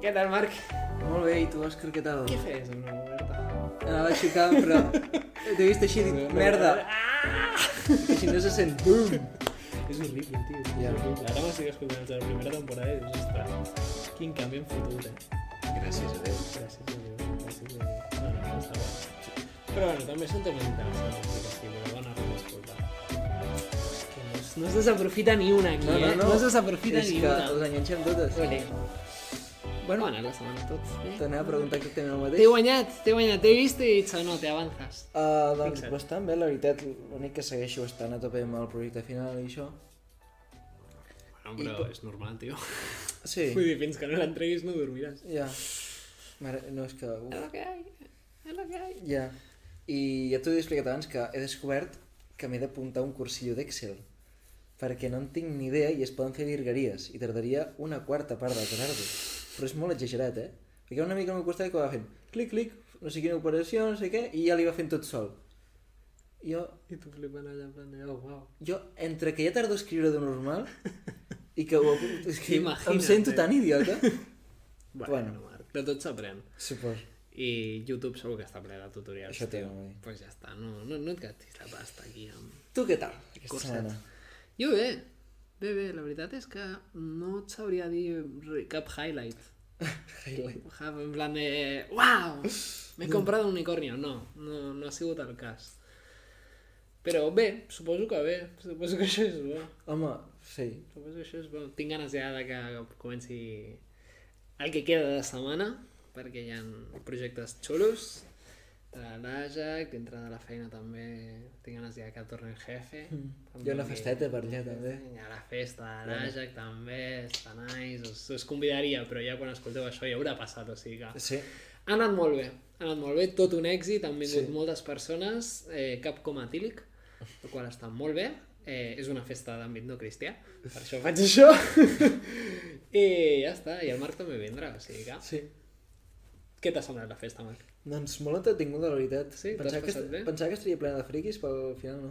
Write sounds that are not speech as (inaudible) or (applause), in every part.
què tal, Marc? Molt bé, i tu, Òscar, què tal? Què feies amb una coberta? Anava aixecant, però t'he vist així i he dit, merda, així no se sent, bum! És horrible, tio. És Ja. horrible. Ara m'estic escoltant els de la primera temporada i dius, ostres, quin canvi en futur, eh? Gràcies a Déu. Gràcies a Déu, gràcies a Déu. No, no, està bo. Però bueno, també són temes interessants, sí, que si voleu anar a escoltar. És que no, es- no es desaprofita ni una aquí, No, no, eh? no, no es desaprofita és ni que una. els enganxem totes. Ole. Bueno, va anar la setmana tots, eh? T'anava a preguntar exactament el mateix. T'he guanyat, t'he guanyat, t'he vist i he dit, no, te avances. Uh, doncs Fixa't. bastant bé, la veritat, l'únic que segueixo estant a tope amb el projecte final i això. No, però és normal, tio. Sí, Vull dir, fins que no l'entreguis no dormiràs. ja. Mare, no, és que... Uf, lo que hay, es lo que hay. ja. I ja t'ho he explicat abans que he descobert que m'he d'apuntar a un cursillo d'Excel perquè no en tinc ni idea i es poden fer virgueries i tardaria una quarta part de tarda. Però és molt exagerat, eh? Perquè una mica al meu costat que va fent clic, clic, no sé quina operació, no sé què, i ja li va fent tot sol. Jo I tu flipant allà en plan de, oh, wow. Jo, entre que ja tardo a escriure de normal i que ho apunto, és que Imagina't. em sento tan idiota. Bueno, Bueno. Marc, de tot s'aprèn. Supos. I YouTube segur que està ple de tutorials. Això té, tio. home. Pues ja està, no, no, no et gastis la pasta aquí amb... Tu què tal? Aquesta Cosset. setmana. Jo bé, bé, bé, la veritat és que no et sabria dir re- cap highlight. Highlight. Ja, En plan de, wow, m'he comprat un unicornio. No, no, no ha sigut el cas. Però bé, suposo que bé, suposo que això és bo. Home, sí. Suposo que això és bo. Tinc ganes ja de que comenci el que queda de setmana, perquè hi ha projectes xulos, de l'Àjac, dintre de la feina també tinc ganes ja que torni el jefe. Hi ha Mm. una festeta per allà, també. Hi ha la festa de l'Àjac també, està nice, us, us convidaria, però ja quan escolteu això ja haurà passat, o sigui que... Sí. Ha anat molt bé, ha anat molt bé, tot un èxit, han vingut Sí. sí. moltes persones, eh, cap com a etílic, el qual està molt bé, eh, és una festa d'àmbit no cristià, per això faig això, i ja està, i el Marc també vindrà, o sigui que... Sí. Què t'ha semblat la festa, Marc? Doncs molt entretinguda, la veritat. Sí, t'ho pensava has que, passat bé? pensava que estaria plena de friquis, però al final no.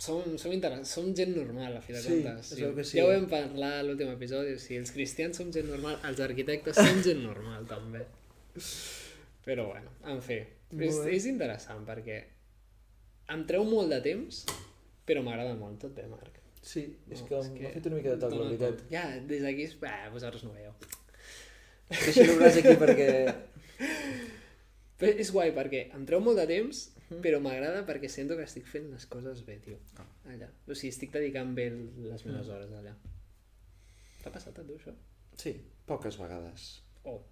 Som, som, interes- som gent normal, a fi de Sí, comptes. es veu que sí. Ja ho vam parlar a l'últim episodi, o sigui, els cristians som gent normal, els arquitectes som gent normal, també. Però bueno, en fi, és, Molt bé. és interessant perquè em treu molt de temps, però m'agrada molt tot bé, Marc. Sí, és No, que m'ha fet una mica de toc, la dona veritat. tot. Ja, des d'aquí, és- bah, vosaltres no veieu. Deixa-li el braç (laughs) aquí perquè... Però és guai perquè em treu molt de temps, però m'agrada perquè sento que estic fent les coses bé, tio. Ah. Allà. O sigui, estic dedicant bé les meves Mm. hores allà. T'ha passat a tu, això? Sí, poques vegades. Oh.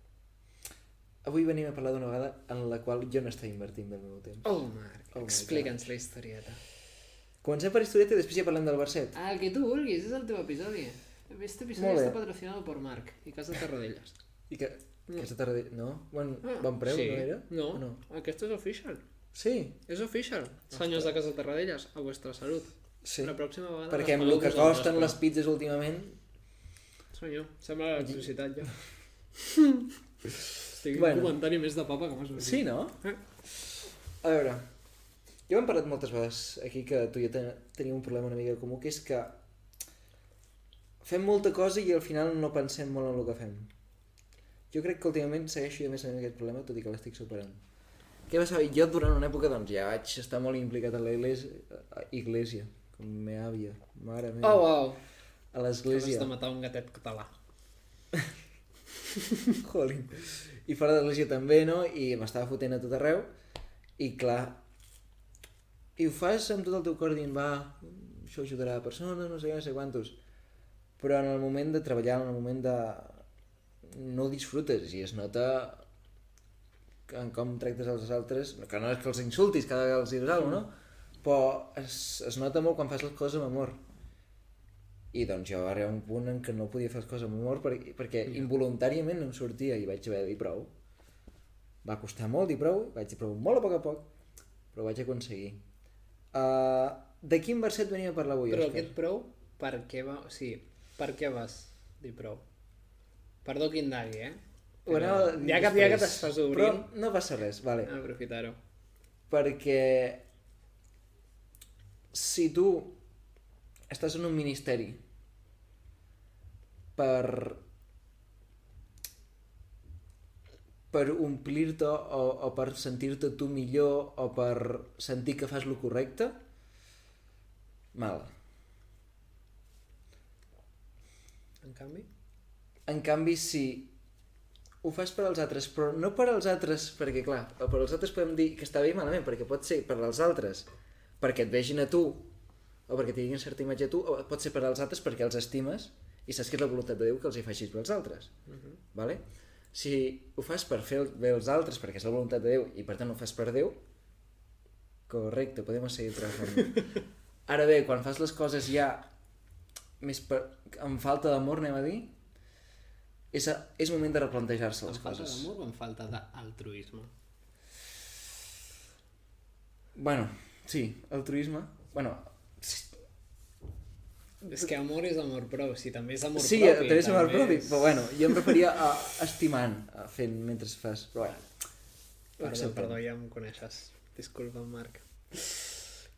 Avui venim a parlar d'una vegada en la qual jo no estava invertint bé el meu temps. Oh, Marc, Oh my explica'ns la historieta. Comencem per historieta i després ja parlem del Barcet. Ah, el que tu vulguis, és el teu episodi. Este episodi Molt bé. està patrocinado per Marc i Casa Tarradellas. I que... Aquesta tarda... No? Bon, bon preu, Ah. sí. no era? No, O no, aquest és official. Sí, És official. Senyors de Casa Tarradellas, a vostra salut. sí. La pròxima vegada... Perquè les amb el pagueu que vosaltres, costen però- les pizzas últimament... Senyor, sembla l'electricitat (laughs) ja. Estic Bueno. bueno. un comentari més de papa que m'has sortit. Sí, no? A veure, jo hem parlat moltes vegades aquí que tu i jo ten tenim un problema una mica comú, que és que fem molta cosa i al final no pensem molt en el que fem. Jo crec que últimament segueixo jo més amb aquest problema, tot i que l'estic superant. Què va saber? Jo durant una època doncs, ja vaig estar molt implicat en la iglesia, iglesia com me àvia, mare meva, Oh, wow. a Has l'església. de matar un gatet català. (laughs) Jolín. I fora de l'església també, no? I m'estava fotent a tot arreu. I clar... I ho fas amb tot el teu cor dient, va, això ajudarà a persones, no sé què, no sé quantos. Però en el moment de treballar, en el moment de... No ho disfrutes i es nota en com tractes els altres, que no és que els insultis cada vegada els diràs alguna cosa, no? Però es, es nota molt quan fas les coses amb amor. I doncs jo va arribar un punt en què no podia fer les coses amb humor perquè, perquè Mm. involuntàriament no em sortia i vaig haver de dir prou. Va costar molt dir prou, vaig dir prou molt a poc a poc, però ho vaig aconseguir. Uh, de quin verset venim a parlar avui, Però Òscar? aquest prou, per què va... O sigui, per què vas dir prou? Perdó que indagui, eh? Ho anava a dir ja que, ja que després, t'estàs obrint, Ah. Però no passa res, vale. però... aprofitar-ho. perquè si tu estàs en un ministeri per per omplir-te o, o per sentir-te tu millor o per sentir que fas lo correcte, mal. En canvi, En canvi, si ho fas per als altres, però no per als altres, perquè clar, per als altres podem dir que està bé i malament, perquè pot ser per als altres, perquè et vegin a tu, o perquè tinguin certa imatge a tu, o pot ser per als altres perquè els estimes i saps que és la voluntat de Déu que els hi facis bé als altres. Uh -huh. vale? Si ho fas per fer el- bé als altres, perquè és la voluntat de Déu, i per tant ho fas per Déu, correcte, podem seguir trabajando. Ara bé, quan fas les coses ja més per... amb falta d'amor, anem a dir, és, a... és moment de replantejar-se em les falta coses. d'amor o em falta d'altruisme? Bueno, sí, altruisme. Bueno, sí, És que amor és amor prou, si també és amor sí propi. altruisme també amor propi, és- però bueno, jo em referia a estimant, a fent mentre fas, però bueno. Perdó, acceptem. perdó, ja em coneixes. Disculpa, Marc.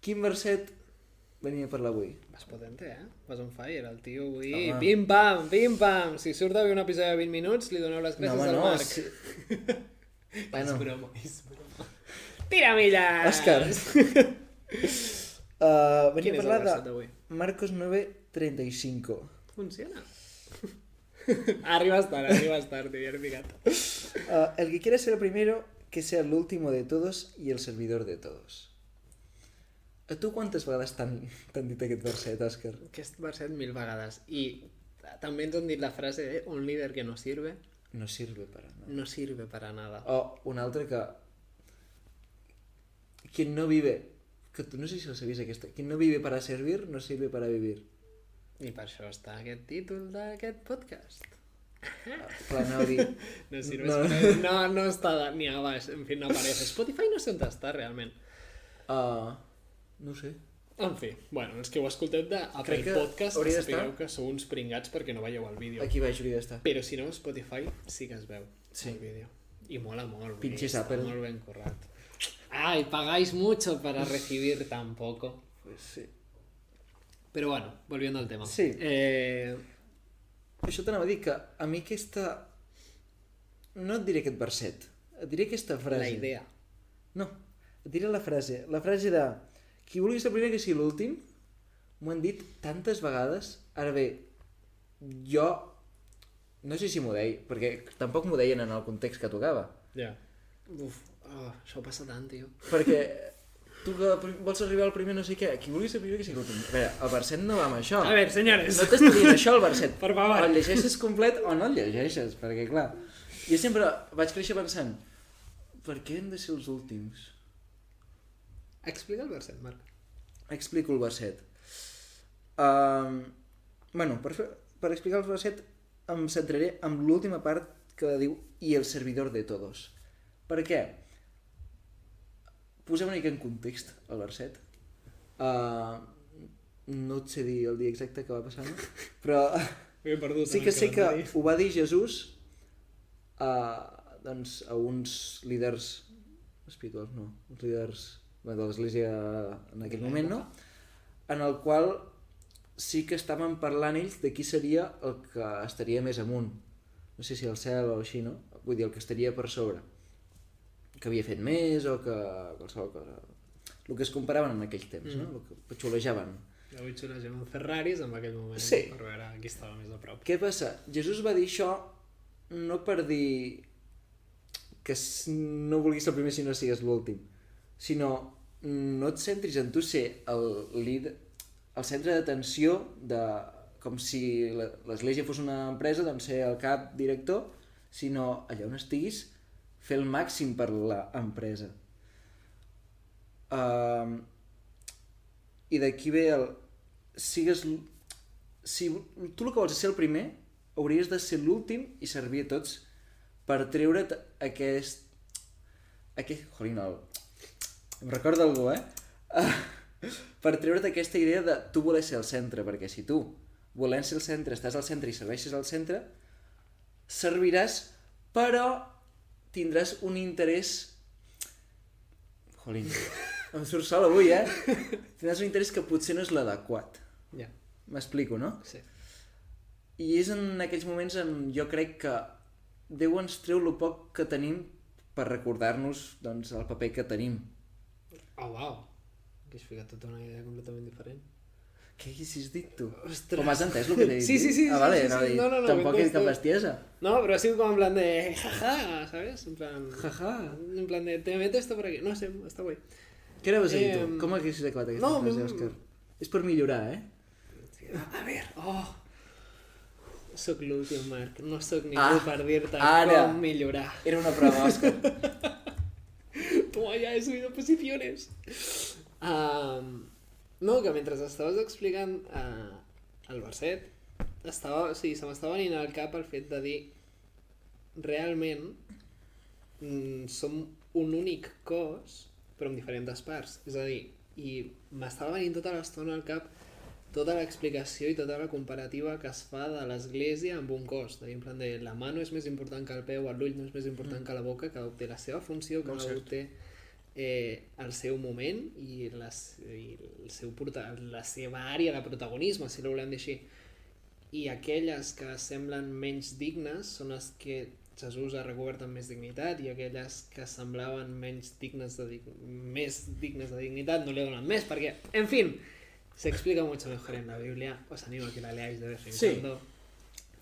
Quin verset venia per l'avui? Vas potente, eh? Vas on fire, el tio avui. Home. Pim-pam, pim-pam. Si surt avui un episodi de 20 minuts, li doneu les gràcies home, al no, Marc. (laughs) sí. És Bueno. broma, és broma. Tira milles! (laughs) Òscar. Uh, venia Quin és a el parlar verset de d'avui? Marcos 9.35. Funciona. (laughs) arribes tard, arribes tard, t'hi havia picat. Ah, el que quiera ser el primero, que sea el último de todos y el servidor de todos. A tu quantes vegades t'han t'han dit aquest verset, Òscar? Aquest verset mil vegades. I també ens han dit la frase de un líder que no sirve, No sirve para nada. no sirve para nada. O un altre que... Quien no vive... Que tu no sé si la sabies aquesta. Quien no vive para servir, no sirve para vivir. I per això està aquest títol d'aquest podcast. Ah, Clar, anava a (laughs) dir... No sirve No. para- no. no, està de- ni a baix, en fi, no apareix. Spotify no sé on està realment. ah, no ho sé. En fi, bueno, els que ho escolteu d'Apple Crec que Podcast, que hauria sapigueu d'estar- que sou uns pringats perquè no veieu el vídeo. Aquí baix hauria d'estar. Però si no, a Spotify sí que es veu Sí. el vídeo. I mola molt. vull Pinches dir, està Apple. Molt ben currat. Ai, pagáis mucho para recibir tan poco. Pues sí. Pero bueno, volviendo al tema. Sí. Eh, Això t'anava a dir que a mi aquesta... No et diré aquest verset. Et diré aquesta frase. la idea. No, et diré la frase. La frase de... Qui vulgui ser el primer que sigui l'últim, m'ho han dit tantes vegades. Ara bé, jo... No sé si m'ho deia, perquè tampoc m'ho deien en el context que tocava. Ja. Uf, oh, això passa tant, tio. Perquè tu que pr- vols arribar al primer no sé què, qui vulgui ser el primer que sigui l'últim. A veure, el verset no va amb això. A veure, senyores. No t'està dient això el verset. Per favor. O el llegeixes complet o no el llegeixes, perquè clar... Jo sempre vaig créixer pensant, per què hem de ser els últims? Explica el verset, Marc. Explico el verset. Um, bueno, per, fer, per explicar el verset em centraré en l'última part que diu i el servidor de todos. Per què? Posem una mica en context el verset. Uh, no et sé dir el dia exacte que va passar, no? però M'he perdut. Sí en que el sé que calendari. ho va dir Jesús a, doncs, a uns líders espirituals, no, uns líders bé, de l'Església en aquell moment, no? En el qual sí que estaven parlant ells de qui seria el que estaria més amunt. No sé si el cel o així, no? Vull dir, el que estaria per sobre. Que havia fet més o que qualsevol cosa. El que es comparaven en aquell temps, mm. no? El que xulejaven. Avui xulejam amb Ferraris en aquell moment. Sí. Per veure qui estava més a prop. Què passa? Jesús va dir això no per dir que s- no vulguis ser el primer si no sigues l'últim, sinó no et centris en tu ser el líder, el centre d'atenció de com si la- l'església fos una empresa, doncs ser el cap director, sinó allà on estiguis, fer el màxim per l'empresa. Um, I d'aquí ve el... Sigues... l- Si tu el que vols és ser el primer, hauries de ser l'últim i servir a tots per treure't aquest... Aquest... Jolín, el... Em recorda algú, eh? Ah, (laughs) per treure't aquesta idea de tu voler ser el centre, perquè si tu volent ser el centre, estàs al centre i serveixes al centre, serviràs, però tindràs un interès Jolín, em surt sol avui, eh? Tindràs un interès que potser no és l'adequat. Ja. M'explico, no? Sí. I és en aquells moments en jo crec que Déu ens treu lo poc que tenim per recordar-nos doncs, el paper que tenim. Oh, wow. Que has ficat tota una idea completament diferent. Què haguessis dit tu? Ostres. Com has entès el que t'he dit? Sí, sí, sí, Ah, sí, vale, sí, sí. anava a dir, No, no, no, Tampoc he dit cap m'entens bestiesa. No, pero ha sido como en plan de jaja, ¿sabes? En plan, Jaja. en plan de te meto esto por aquí. No sé, está guay. Què anaves a dir tu? Em, Com haguessis acabat aquesta no, frase, mm, Òscar? És per millorar, eh? A ver, oh. Soc l'últim, Marc. No sóc ningú Ah, per dir-te ara. com millorar. Era una prova, Òscar. (laughs) Toma, ya he subido posiciones. Um, no, que mentre estaves explicant uh, el verset, estava, o sigui, se m'estava venint al cap el fet de dir realment mm, som un únic cos, però amb diferents parts. És a dir, i m'estava venint tota l'estona al cap tota l'explicació i tota la comparativa que es fa de l'església amb un cos. De dir, en plan de la mano és més important que el peu, l'ull no és més important que la boca, cada un té la seva funció, Mm. Molt cada un cert. té eh, el seu moment i, les, i el seu porta, la seva àrea de protagonisme, si la volem dir així i aquelles que semblen menys dignes són les que Jesús ha recobert amb més dignitat i aquelles que semblaven menys dignes de dig més dignes de dignitat no li donen més perquè, en fin, se explica mucho mejor en la Biblia, os animo a que la leáis de vez en Sí. cuando.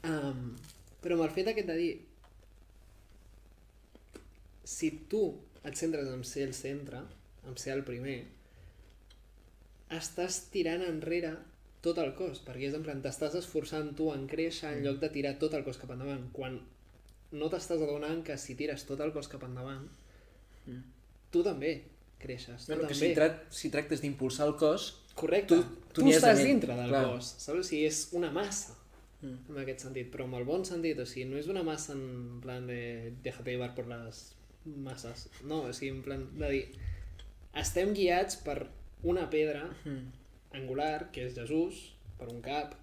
Am, però amb el fet aquest de dir si tu et centres en ser el centre, en ser el primer, estàs tirant enrere tot el cos, perquè és en plan, t'estàs esforçant tu en créixer Mm. en lloc de tirar tot el cos cap endavant, quan no t'estàs adonant que si tires tot el cos cap endavant, Mm. tu també creixes, tu No, no, que si, també. tra si tractes d'impulsar el cos, Correcte. Tu- Tu, tu tu, n'hi has de estàs ment, dintre del clar. clar. cos, saps? O sigui, és una massa, Mm. en aquest sentit, però amb el bon sentit, o sigui, no és una massa en plan de déjate llevar por las masses, no, o sigui, en plan de dir, estem guiats per una pedra Mm. angular, que és Jesús, per un cap,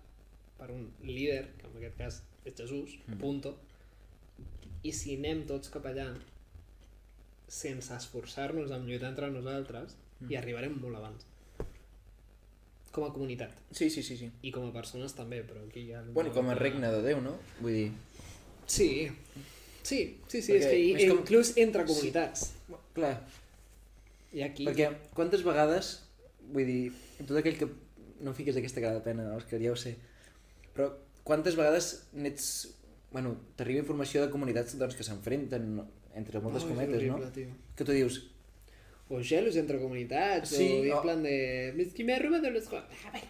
per un líder, que en aquest cas és Jesús, Mm. punto, i si anem tots cap allà sense esforçar-nos en lluitar entre nosaltres, Mm. hi arribarem molt abans. Com a comunitat. Sí, sí, sí, sí. I com a persones també, però aquí hi ha... Bueno, com a regne de Déu, no? Vull dir... Sí. Sí, sí, sí, Perquè és que i, és com- inclús entre comunitats. Clar, I aquí... Perquè quantes vegades, vull dir, tot aquell que... No em fiques aquesta cara de pena, Òscar, ja ho sé. Però quantes vegades n'ets... Bueno, t'arriba informació de comunitats doncs, que s'enfronten, no? entre moltes Ai, oh, és cometes, horrible, no? tio. Que tu dius, O gelos entre comunitats, Sí, o en o- plan de... "Es que me ha robado los... jo-". A ver,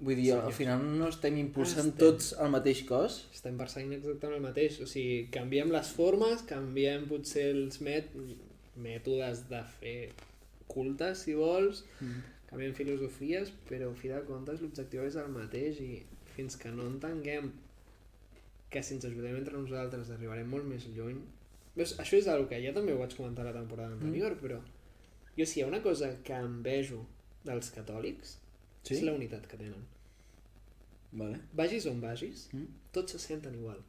vull dir, al final no estem impulsant Ah, Estem. tots el mateix cos? estem perseguint exactament el mateix, o sigui, canviem les formes, canviem potser els met mètodes de fer cultes, si vols, Mm. canviem filosofies, però al fi de comptes l'objectiu és el mateix i fins que no entenguem que si ens ajudem entre nosaltres arribarem molt més lluny. Veus, això és el que ja també ho vaig comentar la temporada anterior, però jo si hi ha una cosa que envejo dels catòlics Sí? és la unitat que tenen. Vale. Vagis on vagis, Mm. tots se senten igual.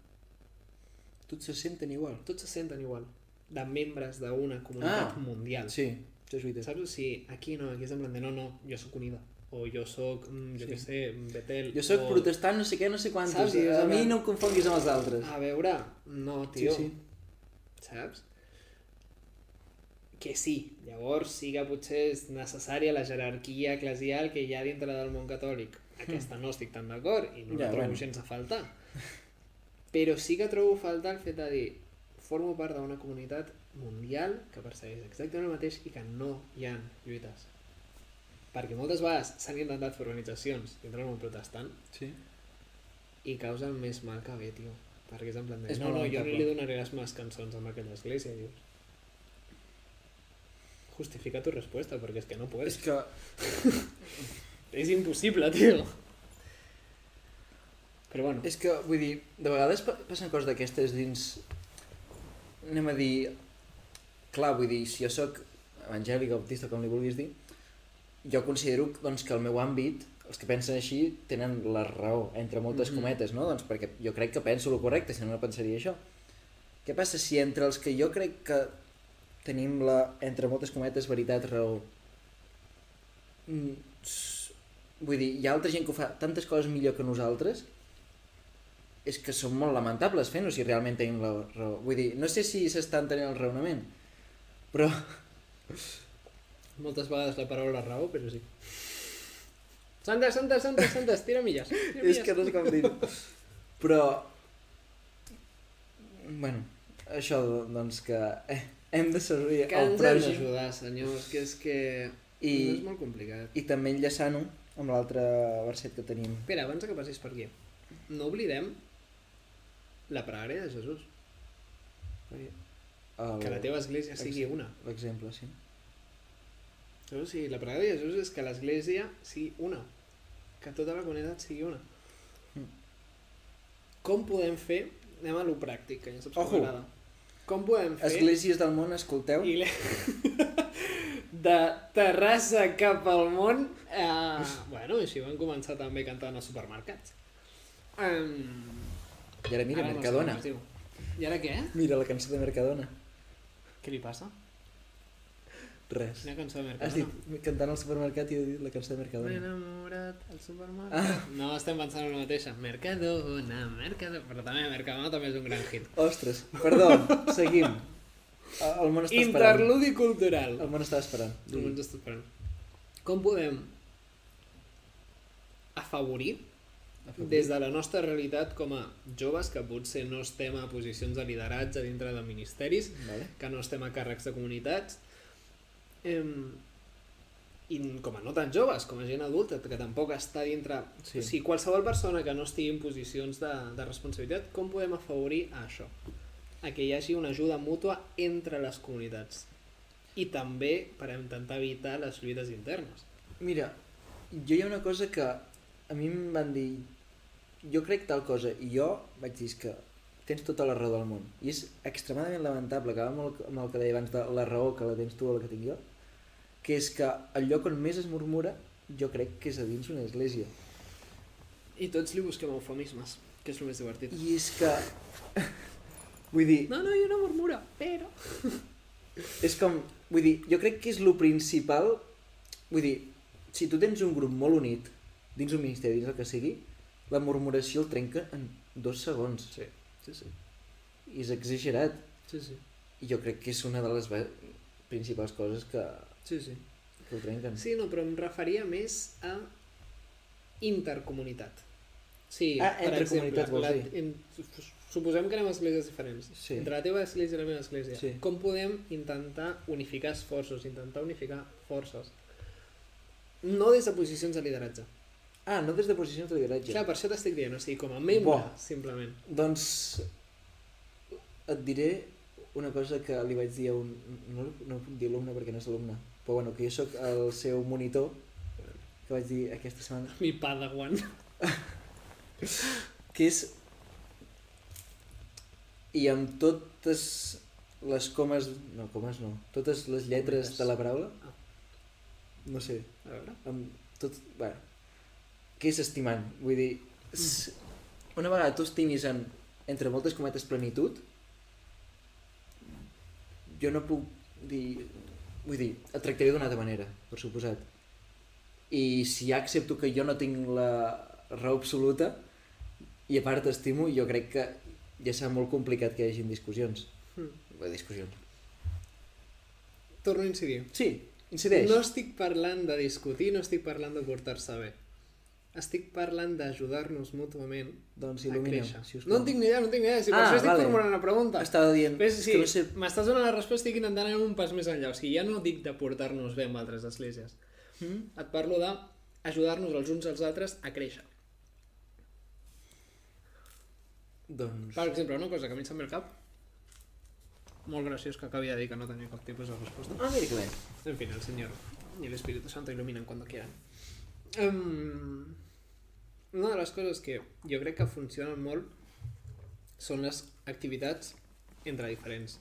Tots se senten igual. tots se senten igual de membres d'una comunitat Ah, ah, mundial. Sí. Sí, això és veritat. Saps? O sigui, aquí no, aquí és en plan de no, no, jo sóc unida. O jo sóc, mm, jo Sí. sí. què sé, Betel. Jo sóc o... protestant, no sé què, no sé quantos. Saps? I és a en mi plan- no em confonguis amb els altres. A veure, no, sí, tio, sí. saps? Que sí, llavors sí que potser és necessària la jerarquia eclesial que hi ha dintre del món catòlic. Aquesta no estic tan d'acord i no Hmm. Ja, la trobo bueno. gens a faltar. Però sí que trobo a faltar el fet de dir formo part d'una comunitat mundial que persegueix exactament el mateix i que no hi ha lluites. Perquè moltes vegades s'han intentat fer organitzacions dintre del món protestant Sí. i causen més mal que bé, tio. Perquè és en plan de... És no, molt no, jo no lamentable. li donaré les meves cançons a aquella església, dius. Justifica tu respuesta, perquè és que no És puedes. que És impossible, tio. Però bueno, És que, vull dir, de vegades pa- passen coses d'aquestes dins... Anem a dir... Clar, vull dir, si jo sóc evangèlic, baptista, com li vulguis dir, jo considero doncs, que el meu àmbit, els que pensen així, tenen la raó, entre moltes Mhm. cometes, no? Doncs perquè jo crec que penso el correcte, si no, no pensaria això. Què passa si entre els que jo crec que tenim la, entre moltes cometes, veritat, raó, mm, s- vull dir, hi ha altra gent que ho fa tantes coses millor que nosaltres és que són molt lamentables fent-ho si realment tenim la raó. Vull dir, no sé si s'està entenent el raonament, però Moltes vegades la paraula raó, però sí. Santes, santes, santes, santes, tira milles. Tira milles. és que no sé com dir-ho. Però, bueno, això doncs que eh, hem de servir que el ens hem pròxim. d'ajudar, senyors, que és que... I... I- No és molt complicat. I també enllaçant-ho amb l'altre verset que tenim. Espera, abans de que passis per aquí, no oblidem la pregària de Jesús. El- Que la teva església sigui una. L'exemple, sí. O sigui, la pregària de Jesús és que l'església sigui una. Que tota la comunitat sigui una. Mm. Com podem fer... Anem a lo pràctic, que ja saps que Ojo. m'agrada. Com podem fer... Esglésies del món, escolteu. I le- (laughs) de Terrassa cap al món (laughs) eh, bueno, així van començar també cantant als supermercats um, I ara Ah, mira, Mercadona. i ara què? Mira la cançó de Mercadona. què li passa? Res. quina cançó de Mercadona? Has dit cantant al supermercat i he dit la cançó de M'he Mercadona. enamorat al supermercat. No, estem pensant en la mateixa. Mercadona, Mercadona... Però també Mercadona també és un gran hit. Ostres, perdó, seguim. El el món està esperant. Ah. Interludi cultural. El món està esperant. Tu m'ho estàs esperant. Com podem afavorir des de la nostra realitat com a joves que potser no estem a posicions de lideratge dintre de ministeris, Vale. que no estem a càrrecs de comunitats, em, i com a no tan joves, com a gent adulta, que tampoc està dintre... Sí. Sí. O sigui, qualsevol persona que no estigui en posicions de, de responsabilitat, com podem afavorir a això? A que hi hagi una ajuda mútua entre les comunitats. I també per intentar evitar les lluites internes. Mira, jo hi ha una cosa que a mi em van dir jo crec tal cosa i jo vaig dir "És que tens tota la raó del món i és extremadament lamentable que va amb el, amb el que deia abans de la raó que la tens tu o la que tinc jo que és que el lloc on més es murmura jo crec que és a dins una església I tots li busquem eufemismes, que és el més divertit. i és que (laughs) vull dir, No, no, jo no murmura, però... és com, vull dir, jo crec que és lo principal, vull dir, si tu tens un grup molt unit, dins un ministeri, dins el que sigui, la murmuració el trenca en dos segons. Sí, sí, sí. I és exagerat. sí, sí. I jo crec que és una de les ba- principals coses que, sí, sí. que ho trenquen. Sí, no, però em referia més a intercomunitat. Sí, Ah, per entre exemple, comunitats, vols la, dir? en, suposem que anem a esglésies diferents. Sí. Entre la teva església i la meva església. Sí. Com podem intentar unificar esforços, intentar unificar forces? No des de posicions de lideratge. Ah, no des de posicions de lideratge. Clar, per això t'estic dient, o sigui, com a membre, Bo. simplement. Doncs et diré una cosa que li vaig dir a un... No, no puc dir alumne perquè no és alumne, però bueno, que jo sóc el seu monitor, que vaig dir aquesta setmana, Mi padawan. que és i amb totes les comes no, comes no, totes les lletres Cometes. de la paraula Ah. no sé, A veure. amb tot, bueno que és estimant, vull dir s- una vegada tu estimis en, entre moltes cometes plenitud jo no puc dir vull dir, et tractaré d'una altra manera per suposat i si ja accepto que jo no tinc la raó absoluta i a part t'estimo, jo crec que ja serà molt complicat que hi hagin discussions. Hm. Bé, discussions. Torno a incidir. Sí, incideix. No estic parlant de discutir, no estic parlant de portar-se bé. Estic parlant d'ajudar-nos mútuament Doncs a Ah, il·lumina'm, créixer. si us no en tinc ni idea, no en tinc ni idea. Si per Ah, això estic vale. formulant una pregunta. Estava dient, Ves, és sí, que no sé... M'estàs donant la resposta, estic intentant anar un pas més enllà. O sigui, ja no dic de portar-nos bé amb altres esglésies. Mm? Et parlo de ajudar-nos els uns als altres a créixer. Doncs... Per exemple, una cosa que a mi em sembla al cap, molt graciós que acabi de dir que no tenia cap tipus de resposta. Ah, mira que bé. En fin, el Señor y el Espíritu Santo iluminan cuando quieran. Em, una de les coses que jo crec que funcionen molt són les activitats entre diferents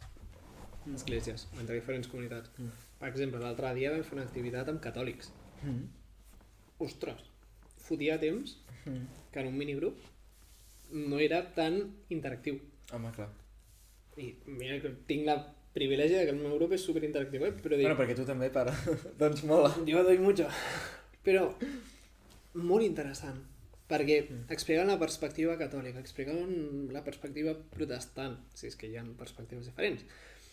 esglésies, entre diferents comunitats. Mm. Per exemple, l'altre dia vam fer una activitat amb catòlics. Hmm, Mm. Ostres, fotia temps Mm. que en un minigrup no era tan interactiu. Home, clar. I mira que tinc la privilegi de que el meu grup és superinteractiu, eh? però dic, Bueno, perquè tu també, pare. (laughs) doncs mola. Yo doy mucho. Pero muy interesante. Perquè Mm. explicant la perspectiva catòlica, explicant la perspectiva protestant, si és que hi ha perspectives diferents.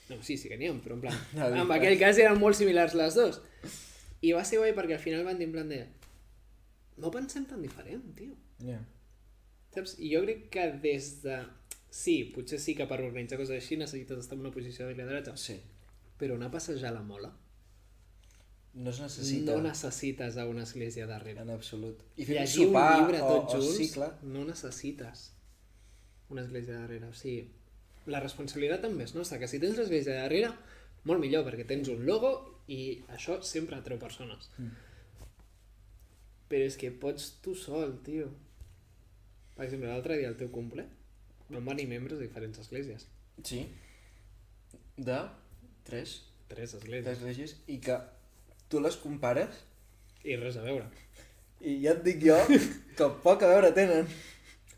No, sí, sí que n'hi ha, però (laughs) en plan... No, en dic- aquell cas eren molt similars les dues. I va ser guai perquè al final van dir en plan de... No pensem tan diferent, tio. Yeah. Saps? I jo crec que des de... Sí, potser sí que per organitzar coses així necessites estar en una posició de lideratge, Sí. però anar a passejar la mola No es necessita. no necessites a una església darrere. En absolut. I fer un Llegir un sopar llibre o, tots o junts cicle. no necessites una església darrere. O sigui, la responsabilitat també és nostra, que si tens l'església darrere, molt millor, perquè tens un logo i això sempre atreu persones. Mm. Però és que pots tu sol, tio. Per exemple, l'altre dia al teu cumple van venir membres de diferents esglésies. Sí. De tres, Tres tres esglésies. esglésies i que tu les compares I res a veure. i ja et (laughs) dic jo que poc a veure tenen.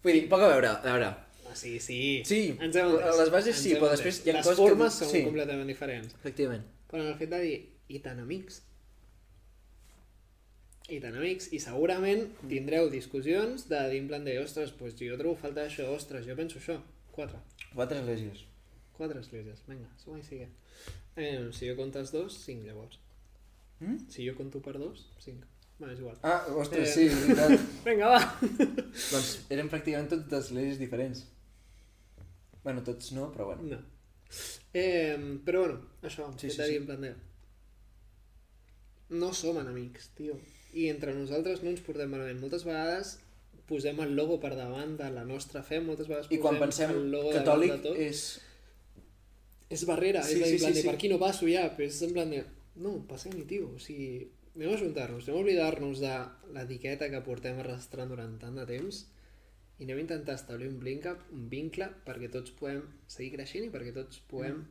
Vull dir, poc a veure, a veure. Ah, sí, sí. Sí, Ens hem entès. les bases sí, Ens hem però després entès. hi ha Les coses que- formes són sí. completament diferents. Efectivament. Però en el fet de dir, i tan amics. I tan amics. I segurament tindreu discussions de dir en plan de, ostres, doncs jo trobo falta això, ostres, jo penso això. Quatre. Quatre esglésies. Quatre esglésies. Vinga, suma i sigue. Eh, si jo comptes dos, cinc llavors. Mm? Si jo conto per dos, cinc. Va, és igual. Ah, Hmm? Eh. ostres, sí, és veritat. Vinga, va! doncs eren pràcticament totes esglésies diferents. Bueno, tots no, però bueno. No. Eh, però bueno, això, Sí, sí, sí, sí, sí. dir, en plan de... No som enemics, tio. I entre nosaltres no ens portem malament. Moltes vegades posem el logo per davant de la nostra fe, moltes vegades I posem quan pensem el logo catòlic davant de tot. És, és... és barrera, és Sí, a dir, sí, en plan sí, de sí. per aquí no passo ja, però és en plan de... No, passem-hi, tio. O sigui, anem a ajuntar-nos, anem a oblidar-nos de l'etiqueta que portem arrastrant durant tant de temps i anem a intentar establir un vincle, un vincle perquè tots puguem seguir creixent i perquè tots puguem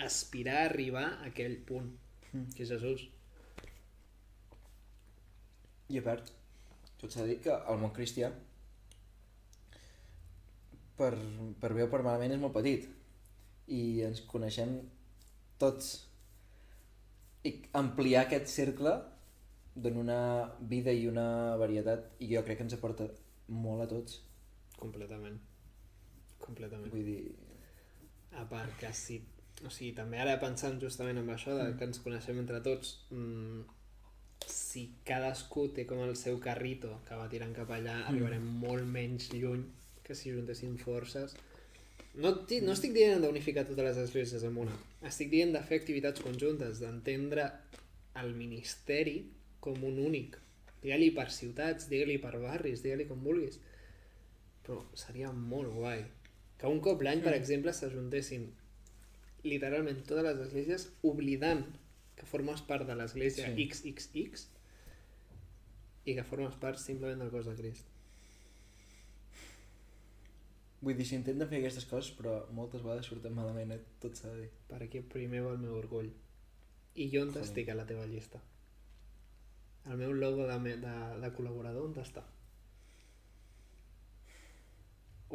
aspirar a arribar a aquell punt, Mm. que és Jesús. I a part, tot s'ha de dir que el món cristià, per, per bé o per malament, és molt petit. I ens coneixem tots. I ampliar aquest cercle dona una vida i una varietat i jo crec que ens aporta molt a tots. Completament. Completament. Vull dir... A part que si... O sigui, també ara pensant justament en això, de que ens coneixem entre tots, mm, si cadascú té com el seu carrito que va tirant cap allà, arribarem molt menys lluny que si juntessin forces. No, et di- no estic dient d'unificar totes les esglésies en una. Estic dient de fer activitats conjuntes, d'entendre el ministeri com un únic. Digue-li per ciutats, digue-li per barris, digue-li com vulguis però seria molt guai que un cop l'any, per exemple, s'ajuntessin literalment totes les esglésies oblidant que formes part de l'església Sí. sí. XXX i que formes part simplement del cos de Crist. Vull dir, s'intenten fer aquestes coses, però moltes vegades surten malament, eh? tot s'ha de dir. Perquè primer va el meu orgull. I jo on Joder. estic a la teva llista? El meu logo de, me, de, de col·laborador on està?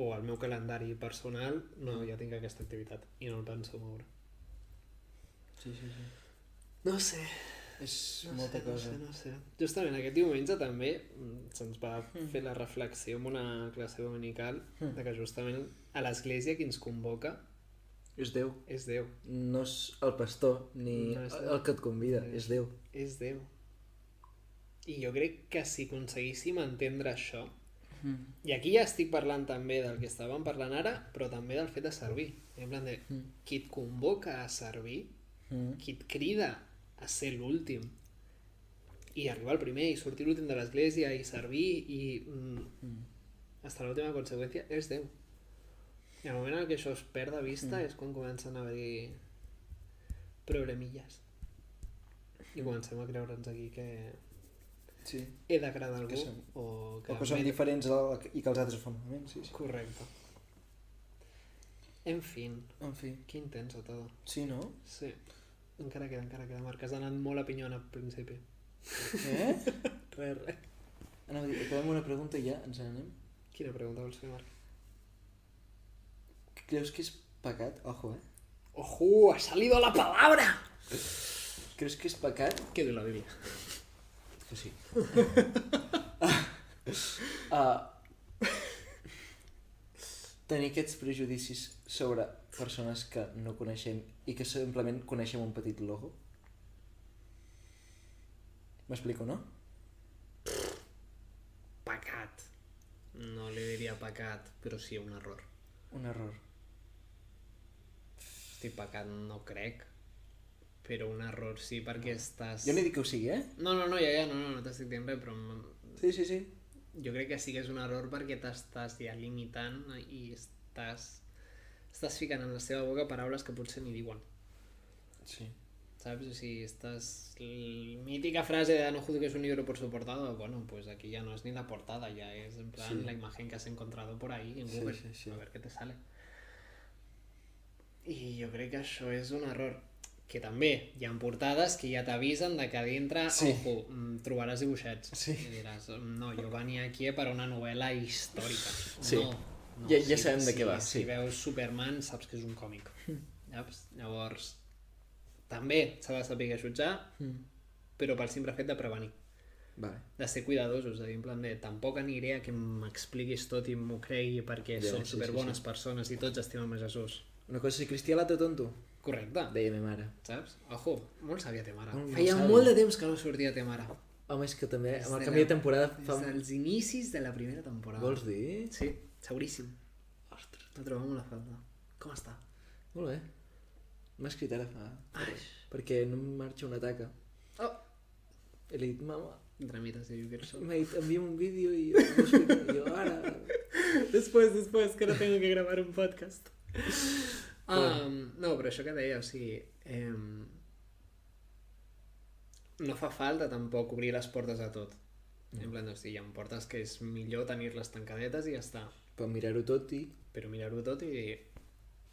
O el meu calendari personal, no, ja tinc aquesta activitat i no el penso moure. Sí, sí, sí. No sé, És No molta sé, cosa. No sé, no sé. Justament aquest diumenge també mm, se'ns va Hmm. fer la reflexió en una classe dominical Mm. de que justament a l'església qui ens convoca És Déu. és Déu. no és el pastor ni No és el, Déu. que et convida, és Déu. És Déu. I jo crec que si aconseguíssim entendre això, Mm. i aquí ja estic parlant també del que estàvem parlant ara, però també del fet de servir. En plan de, Mm. qui et convoca a servir, qui et crida a ser l'últim i arribar el primer i sortir l'últim de l'església i servir i mm, Hasta la última conseqüència és Déu. I el moment en què això es perd de vista mm. és quan comencen a haver-hi problemilles. I comencem a creure'ns aquí que Sí. he d'agradar a algú Que som- o que... O que són m'he- diferents al, i que els altres ho fan malament, sí, sí. Correcte. En fi, En fi, que intenso todo. sí, (laughs) no? Sí. Encara queda, encara queda. Marc, has anat molt a pinyona al principi. Eh? Re, re. Anava a dir, acabem una pregunta i ja ens n'anem. Quina pregunta vols fer, Marc? Creus que és pecat? Ojo, eh? ¡Ojo! ¡Ha salido la palabra! Creus que és pecat? (laughs) Que de la Biblia. Que sí. Uh, tenir aquests prejudicis sobre persones que no coneixem i que simplement coneixem un petit logo. M'explico, no? Pecat. No li diria pecat, però sí un error. Un error. Hosti, pecat no crec, però un error sí perquè estàs... Ah. Jo no dic que ho sigui, eh? No, no, no, ja, ja, no, no, no t'estic dient res, però em- Sí, sí, sí. jo crec que sí que és un error perquè t'estàs ja limitant i estàs, estàs ficant en la seva boca paraules que potser ni diuen. Sí. ¿Sabes? O si estás. La mítica frase de "Ah, no juzgues un libro por su portada, bueno, pues aquí ya no es ni la portada, ya es en plan Sí. la imagen que has encontrado por ahí en Sí, Google. sí, sí. A ver qué te sale. I jo crec que això és un error. Que també hi ha portades que ja t'avisen de que a dintre, Sí. ojo, mm, trobaràs dibuixets. Sí. I diràs, no, jo venia aquí per una novel·la històrica. Sí. No, no, Ja- ja sabem de què va, Si sí. veus Superman, saps que és un (laughs) còmic. Saps? Llavors, també s'ha de saber jutjar, Hmm. però pel simple fet de prevenir, Vale. de ser cuidadosos, de dir en plan de tampoc aniré a que m'expliquis tot i m'ho cregui perquè Ja, som sí, sí, superbones persones i tots estimem a Jesús. Una cosa és Cristià l'altre tonto, Correcte, deia ma mare. saps? Ojo, molt sabia te mare. Molt, molt Feia sàvia. molt de temps que no sortia te mare. Home, és que també amb de el canvi la- de temporada fa... Des dels inicis de la primera temporada. Vols dir? Sí, seguríssim. Ostres, la trobem a la falta. Com està? Molt bé. M'ha escrit ara fa... Ai. Perquè no em marxa una taca. Oh! I li he dit, mama, Entre mites i Wilson. m'ha dit, envia'm un vídeo i jo, no sé, i jo (laughs) ara... (laughs) Después, después, que ahora tengo que grabar un podcast. (laughs) Ah, no, però això que deia, o sigui... em, no fa falta tampoc obrir les portes a tot. En plan, o sigui, hi ha portes que és millor tenir-les tancadetes i ja està. Per mirar-ho tot i... Però mirar-ho tot i dir...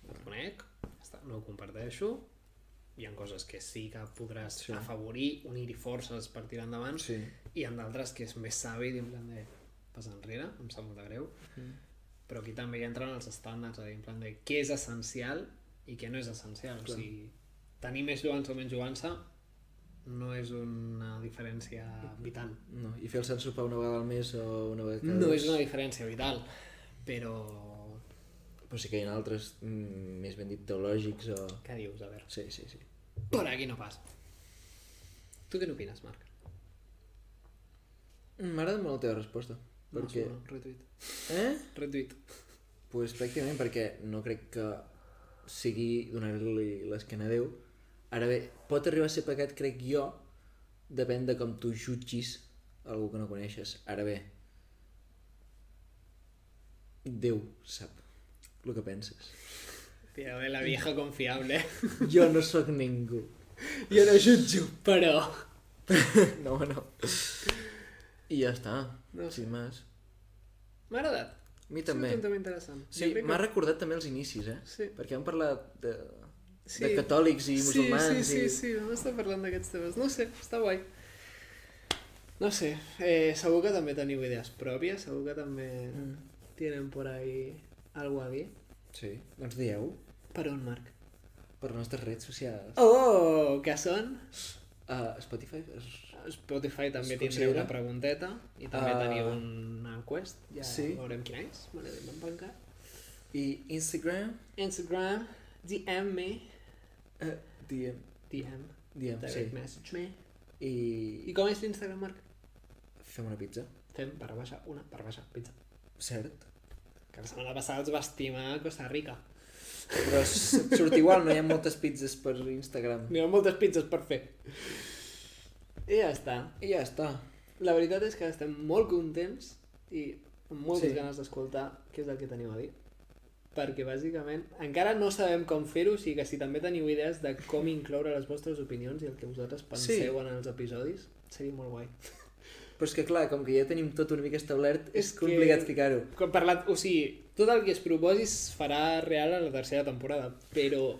No et conec, ja està, no ho comparteixo. Hi ha coses que sí que podràs Sí. afavorir, unir-hi forces per tirar endavant. Sí. I en d'altres que és més savi, en plan de passar enrere, em sap molt de greu. Mm. Però aquí també hi entren els estàndards, a dir, en plan de què és essencial i què no és essencial. Clar. O sigui, tenir més lloança o menys lloança no és una diferència vital. No, i fer el Sant Sopar una vegada al mes o una vegada cada No dos. és una diferència vital, però... Però sí que hi ha altres, mm, més ben dit, teològics o... Què dius? A veure, Sí, sí, sí. per aquí no passa. Tu què n'opines, Marc? M'agrada molt la teva resposta. Perquè... No, retuit. Eh? Retuit. pues pràcticament perquè no crec que sigui donar-li l'esquena a Déu. Ara bé, pot arribar a ser pecat, crec jo, depèn de com tu jutgis algú que no coneixes. Ara bé, Déu sap el que penses. Tira de la vieja confiable. (laughs) Jo no sóc ningú. Jo no jutjo, però... No, no. I ja està. No sé. Sin més. M'ha agradat. A mi És un també. tema interessant. Sí, Jo crec que- m'ha recordat també els inicis, eh? Sí. Perquè hem parlat de, Sí. de catòlics i musulmans. Sí, sí, i... sí, sí, vam estar parlant d'aquests temes. No ho sé, està guai. No sé, eh, segur que també teniu idees pròpies, segur que també mm. tienen por ahí algo a dir. Sí, doncs dieu Per on, Marc? per les nostres redes socials. Oh, que són? A Spotify es- Spotify també Es tindrà considera? una pregunteta i també Ah. teniu una enquest. Ja Sí. veurem quina és. Vale, vam bancar. i Instagram, Instagram, DM me, eh, diem, DM, diem, direct sí. message me. I I com és l'Instagram, Marc? fem una pizza, Fem per baixar una, per baixar, pizza. cert. Que la setmana passada els va estimar a Costa Rica. Però s- surt igual, no hi ha moltes pizzas per Instagram. N'hi ha moltes pizzas per fer. I ja està. I ja està. La veritat és que estem molt contents i amb moltes Sí. sí. ganes d'escoltar què és el que teniu a dir. Perquè, bàsicament, encara no sabem com fer-ho, o sigui que si també teniu idees de com incloure les vostres opinions i el que vosaltres penseu Sí. sí. en els episodis, seria molt guai. Però és que clar, com que ja tenim tot una mica establert, és, És que- complicat ficar-ho. Com parlat, o sigui, tot el que es proposi es farà real a la tercera temporada, però...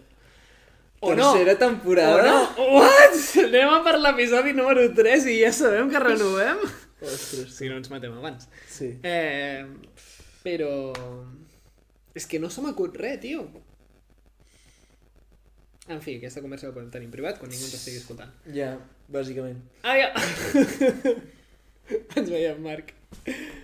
O no! Tercera temporada? Oh, no. What? Anem a per l'episodi número 3 i ja sabem que renovem? Ostres, Si no ens matem abans. sí. Eh, però... És que no se m'acut res, tio. En fi, aquesta conversa la podem tenir en privat quan ningú ens estigui escoltant. Ja, bàsicament. (laughs) Adéu! ens veiem, Marc.